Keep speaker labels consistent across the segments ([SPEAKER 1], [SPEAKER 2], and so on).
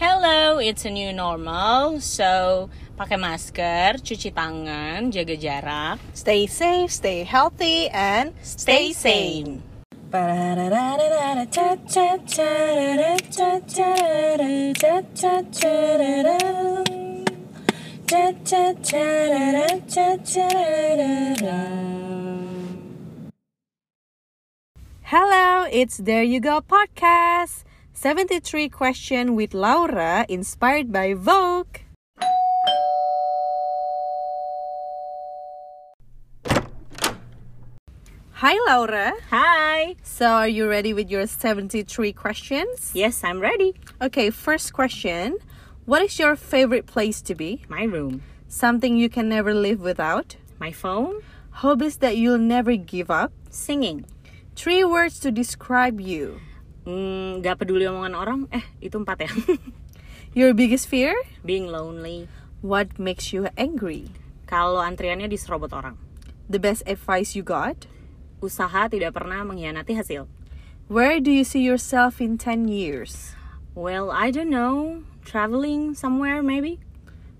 [SPEAKER 1] Hello, it's a new normal. So, pakai masker, cuci tangan, jaga jarak,
[SPEAKER 2] Stay safe, stay healthy, and
[SPEAKER 1] stay sane.
[SPEAKER 2] Hello, it's There You Go Podcast 73 Question with Laura, inspired by Vogue. Hi, Laura.
[SPEAKER 1] Hi.
[SPEAKER 2] So, are you ready with your 73 questions?
[SPEAKER 1] Yes, I'm ready.
[SPEAKER 2] Okay, first question What is your favorite place to be?
[SPEAKER 1] My room,
[SPEAKER 2] Something you can never live without?
[SPEAKER 1] my phone,
[SPEAKER 2] Hobbies that you'll never give up?
[SPEAKER 1] singing.
[SPEAKER 2] Three words to describe you.
[SPEAKER 1] Mm, gak peduli omongan orang. Eh, itu empat ya.
[SPEAKER 2] Your biggest fear?
[SPEAKER 1] Being lonely.
[SPEAKER 2] What makes you angry?
[SPEAKER 1] Kalau antriannya diserobot orang.
[SPEAKER 2] The best advice you got?
[SPEAKER 1] Usaha tidak pernah mengkhianati hasil.
[SPEAKER 2] Where do you see yourself in 10 years?
[SPEAKER 1] Well, I don't know. Traveling somewhere maybe.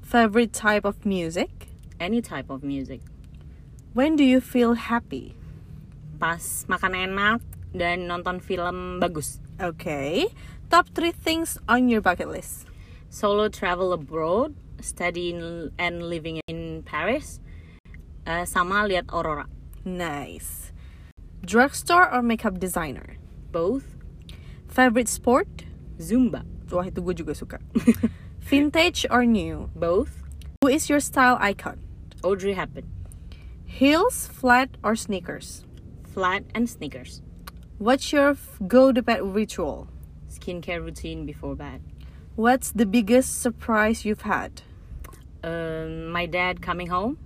[SPEAKER 2] Favorite type of music?
[SPEAKER 1] Any type of music.
[SPEAKER 2] When do you feel happy?
[SPEAKER 1] Pas makan enak dan nonton film bagus.
[SPEAKER 2] Okay. Top 3 things on your bucket list.
[SPEAKER 1] solo travel abroad, studying and living in Paris, eh, sama lihat aurora.
[SPEAKER 2] Nice. Drugstore or makeup designer?
[SPEAKER 1] Both
[SPEAKER 2] Favorite sport?
[SPEAKER 1] Zumba.
[SPEAKER 2] Wah, itu gue juga suka. Vintage or new?
[SPEAKER 1] Both
[SPEAKER 2] Who is your style icon?
[SPEAKER 1] Audrey Hepburn.
[SPEAKER 2] Heels, flat, or sneakers?
[SPEAKER 1] Flat and sneakers.
[SPEAKER 2] What's your f- go to bed ritual?
[SPEAKER 1] Skincare routine before bed.
[SPEAKER 2] What's the biggest surprise you've had?
[SPEAKER 1] Um, my dad coming home.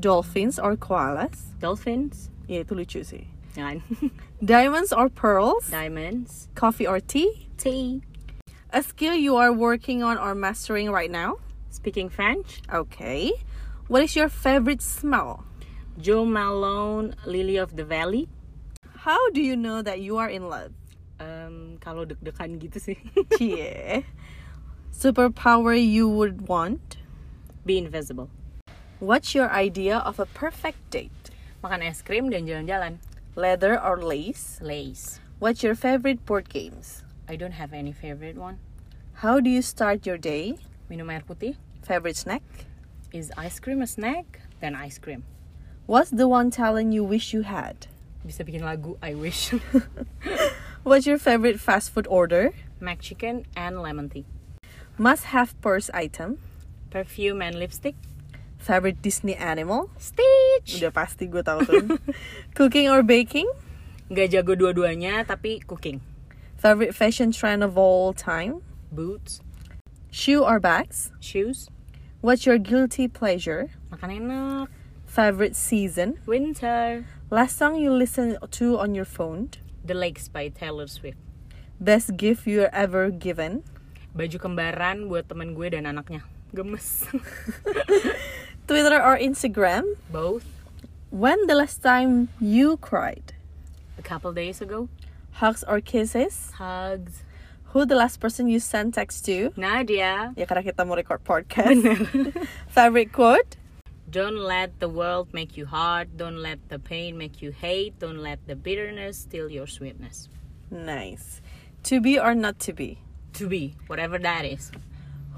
[SPEAKER 2] Dolphins or koalas?
[SPEAKER 1] Dolphins.
[SPEAKER 2] Ya, itu lucu sih.
[SPEAKER 1] Kan?
[SPEAKER 2] Diamonds or pearls?
[SPEAKER 1] Diamonds.
[SPEAKER 2] Coffee or tea?
[SPEAKER 1] Tea.
[SPEAKER 2] A skill you are working on or mastering right now?
[SPEAKER 1] Speaking French.
[SPEAKER 2] Okay. What is your favorite smell?
[SPEAKER 1] Joe Malone, Lily of the Valley.
[SPEAKER 2] How do you know that you are in love?
[SPEAKER 1] Um, kalau deg-degan gitu sih.
[SPEAKER 2] Cie. Superpower you would want?
[SPEAKER 1] Be invisible.
[SPEAKER 2] What's your idea of a perfect date?
[SPEAKER 1] Makan es krim dan jalan-jalan.
[SPEAKER 2] Leather or lace?
[SPEAKER 1] Lace.
[SPEAKER 2] What's your favorite board games?
[SPEAKER 1] I don't have any favorite one.
[SPEAKER 2] How do you start your day?
[SPEAKER 1] Minum air putih.
[SPEAKER 2] Favorite snack?
[SPEAKER 1] Is ice cream a snack? Then ice cream.
[SPEAKER 2] What's the one talent you wish you had?
[SPEAKER 1] Bisa bikin lagu I wish.
[SPEAKER 2] What's your favorite fast food order?
[SPEAKER 1] Mac chicken and lemon tea.
[SPEAKER 2] Must have purse item?
[SPEAKER 1] Perfume and lipstick.
[SPEAKER 2] Favorite Disney animal?
[SPEAKER 1] Stitch.
[SPEAKER 2] Udah pasti gue tahu tuh. Cooking or baking?
[SPEAKER 1] Gak jago dua-duanya tapi cooking.
[SPEAKER 2] Favorite fashion trend of all time?
[SPEAKER 1] Boots,
[SPEAKER 2] Shoe or bags?
[SPEAKER 1] shoes,
[SPEAKER 2] What's your guilty pleasure?
[SPEAKER 1] makan enak.
[SPEAKER 2] Favorite season?
[SPEAKER 1] Winter.
[SPEAKER 2] Last song you listened to on your phone?
[SPEAKER 1] The Lakes by Taylor Swift.
[SPEAKER 2] Best gift you are ever given?
[SPEAKER 1] Baju kembaran buat temen gue dan anaknya. Gemes.
[SPEAKER 2] Twitter or Instagram?
[SPEAKER 1] Both
[SPEAKER 2] When the last time you cried?
[SPEAKER 1] a couple days ago.
[SPEAKER 2] Hugs or kisses?
[SPEAKER 1] Hugs.
[SPEAKER 2] Who the last person you sent text to?
[SPEAKER 1] Nadia.
[SPEAKER 2] Ya karena kita mau record podcast. Favorite quote?
[SPEAKER 1] Don't let the world make you hard. Don't let the pain make you hate. Don't let the bitterness steal your sweetness.
[SPEAKER 2] Nice. To be or not to be?
[SPEAKER 1] To be, whatever that is.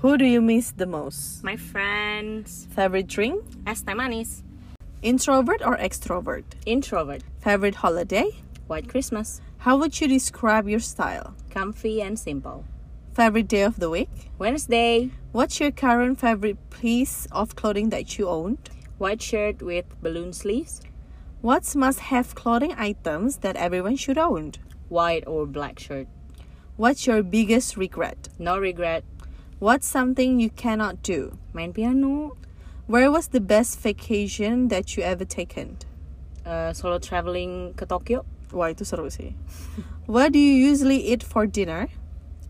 [SPEAKER 2] Who do you miss the most?
[SPEAKER 1] My friends.
[SPEAKER 2] Favorite drink?
[SPEAKER 1] Es teh manis.
[SPEAKER 2] Introvert or extrovert?
[SPEAKER 1] Introvert.
[SPEAKER 2] Favorite holiday?
[SPEAKER 1] White Christmas.
[SPEAKER 2] How would you describe your style?
[SPEAKER 1] Comfy and simple.
[SPEAKER 2] Favorite day of the week?
[SPEAKER 1] Wednesday.
[SPEAKER 2] What's your current favorite piece of clothing that you owned?
[SPEAKER 1] White shirt with balloon sleeves.
[SPEAKER 2] What's must-have clothing items that everyone should own?
[SPEAKER 1] White or black shirt.
[SPEAKER 2] What's your biggest regret?
[SPEAKER 1] No regret.
[SPEAKER 2] What's something you cannot do?
[SPEAKER 1] Main piano.
[SPEAKER 2] Where was the best vacation that you ever taken?
[SPEAKER 1] Uh, solo traveling ke Tokyo.
[SPEAKER 2] Wah itu seru sih. What do you usually eat for dinner?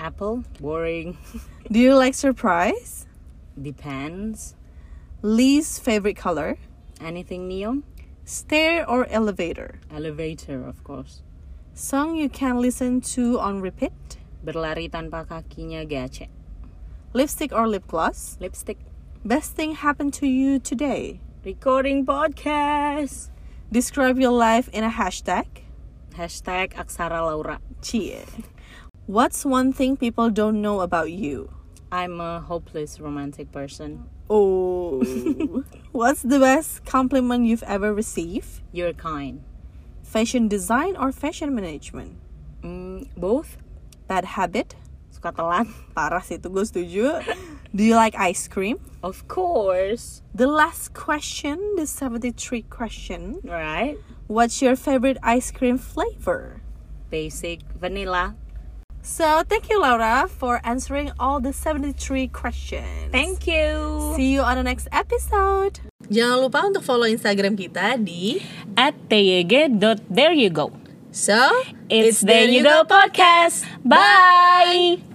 [SPEAKER 1] Apple. Boring.
[SPEAKER 2] Do you like surprise?
[SPEAKER 1] Depends.
[SPEAKER 2] Least favorite color?
[SPEAKER 1] Anything neon.
[SPEAKER 2] Stair or elevator?
[SPEAKER 1] Elevator, of course.
[SPEAKER 2] Song you can listen to on repeat?
[SPEAKER 1] Berlari tanpa kakinya gace.
[SPEAKER 2] Lipstick or lip gloss?
[SPEAKER 1] Lipstick.
[SPEAKER 2] Best thing happened to you today?
[SPEAKER 1] Recording podcast.
[SPEAKER 2] Describe your life in a hashtag.
[SPEAKER 1] Hashtag Aksara Laura.
[SPEAKER 2] Cie. What's one thing people don't know about you?
[SPEAKER 1] I'm a hopeless romantic person.
[SPEAKER 2] Oh. What's the best compliment you've ever received?
[SPEAKER 1] You're kind.
[SPEAKER 2] Fashion design or fashion management?
[SPEAKER 1] Mm, both.
[SPEAKER 2] Bad habit?
[SPEAKER 1] Suka telat.
[SPEAKER 2] Parah sih itu gue setuju. Do you like ice cream?
[SPEAKER 1] Of course.
[SPEAKER 2] The last question, the 73 question.
[SPEAKER 1] Right.
[SPEAKER 2] What's your favorite ice cream flavor?
[SPEAKER 1] Basic vanilla.
[SPEAKER 2] So thank you Laura for answering all the 73 questions.
[SPEAKER 1] Thank you.
[SPEAKER 2] See you on the next episode. Jangan lupa untuk follow Instagram kita di
[SPEAKER 1] At TYG dot there you go.
[SPEAKER 2] So
[SPEAKER 1] It's, there you go podcast. Bye.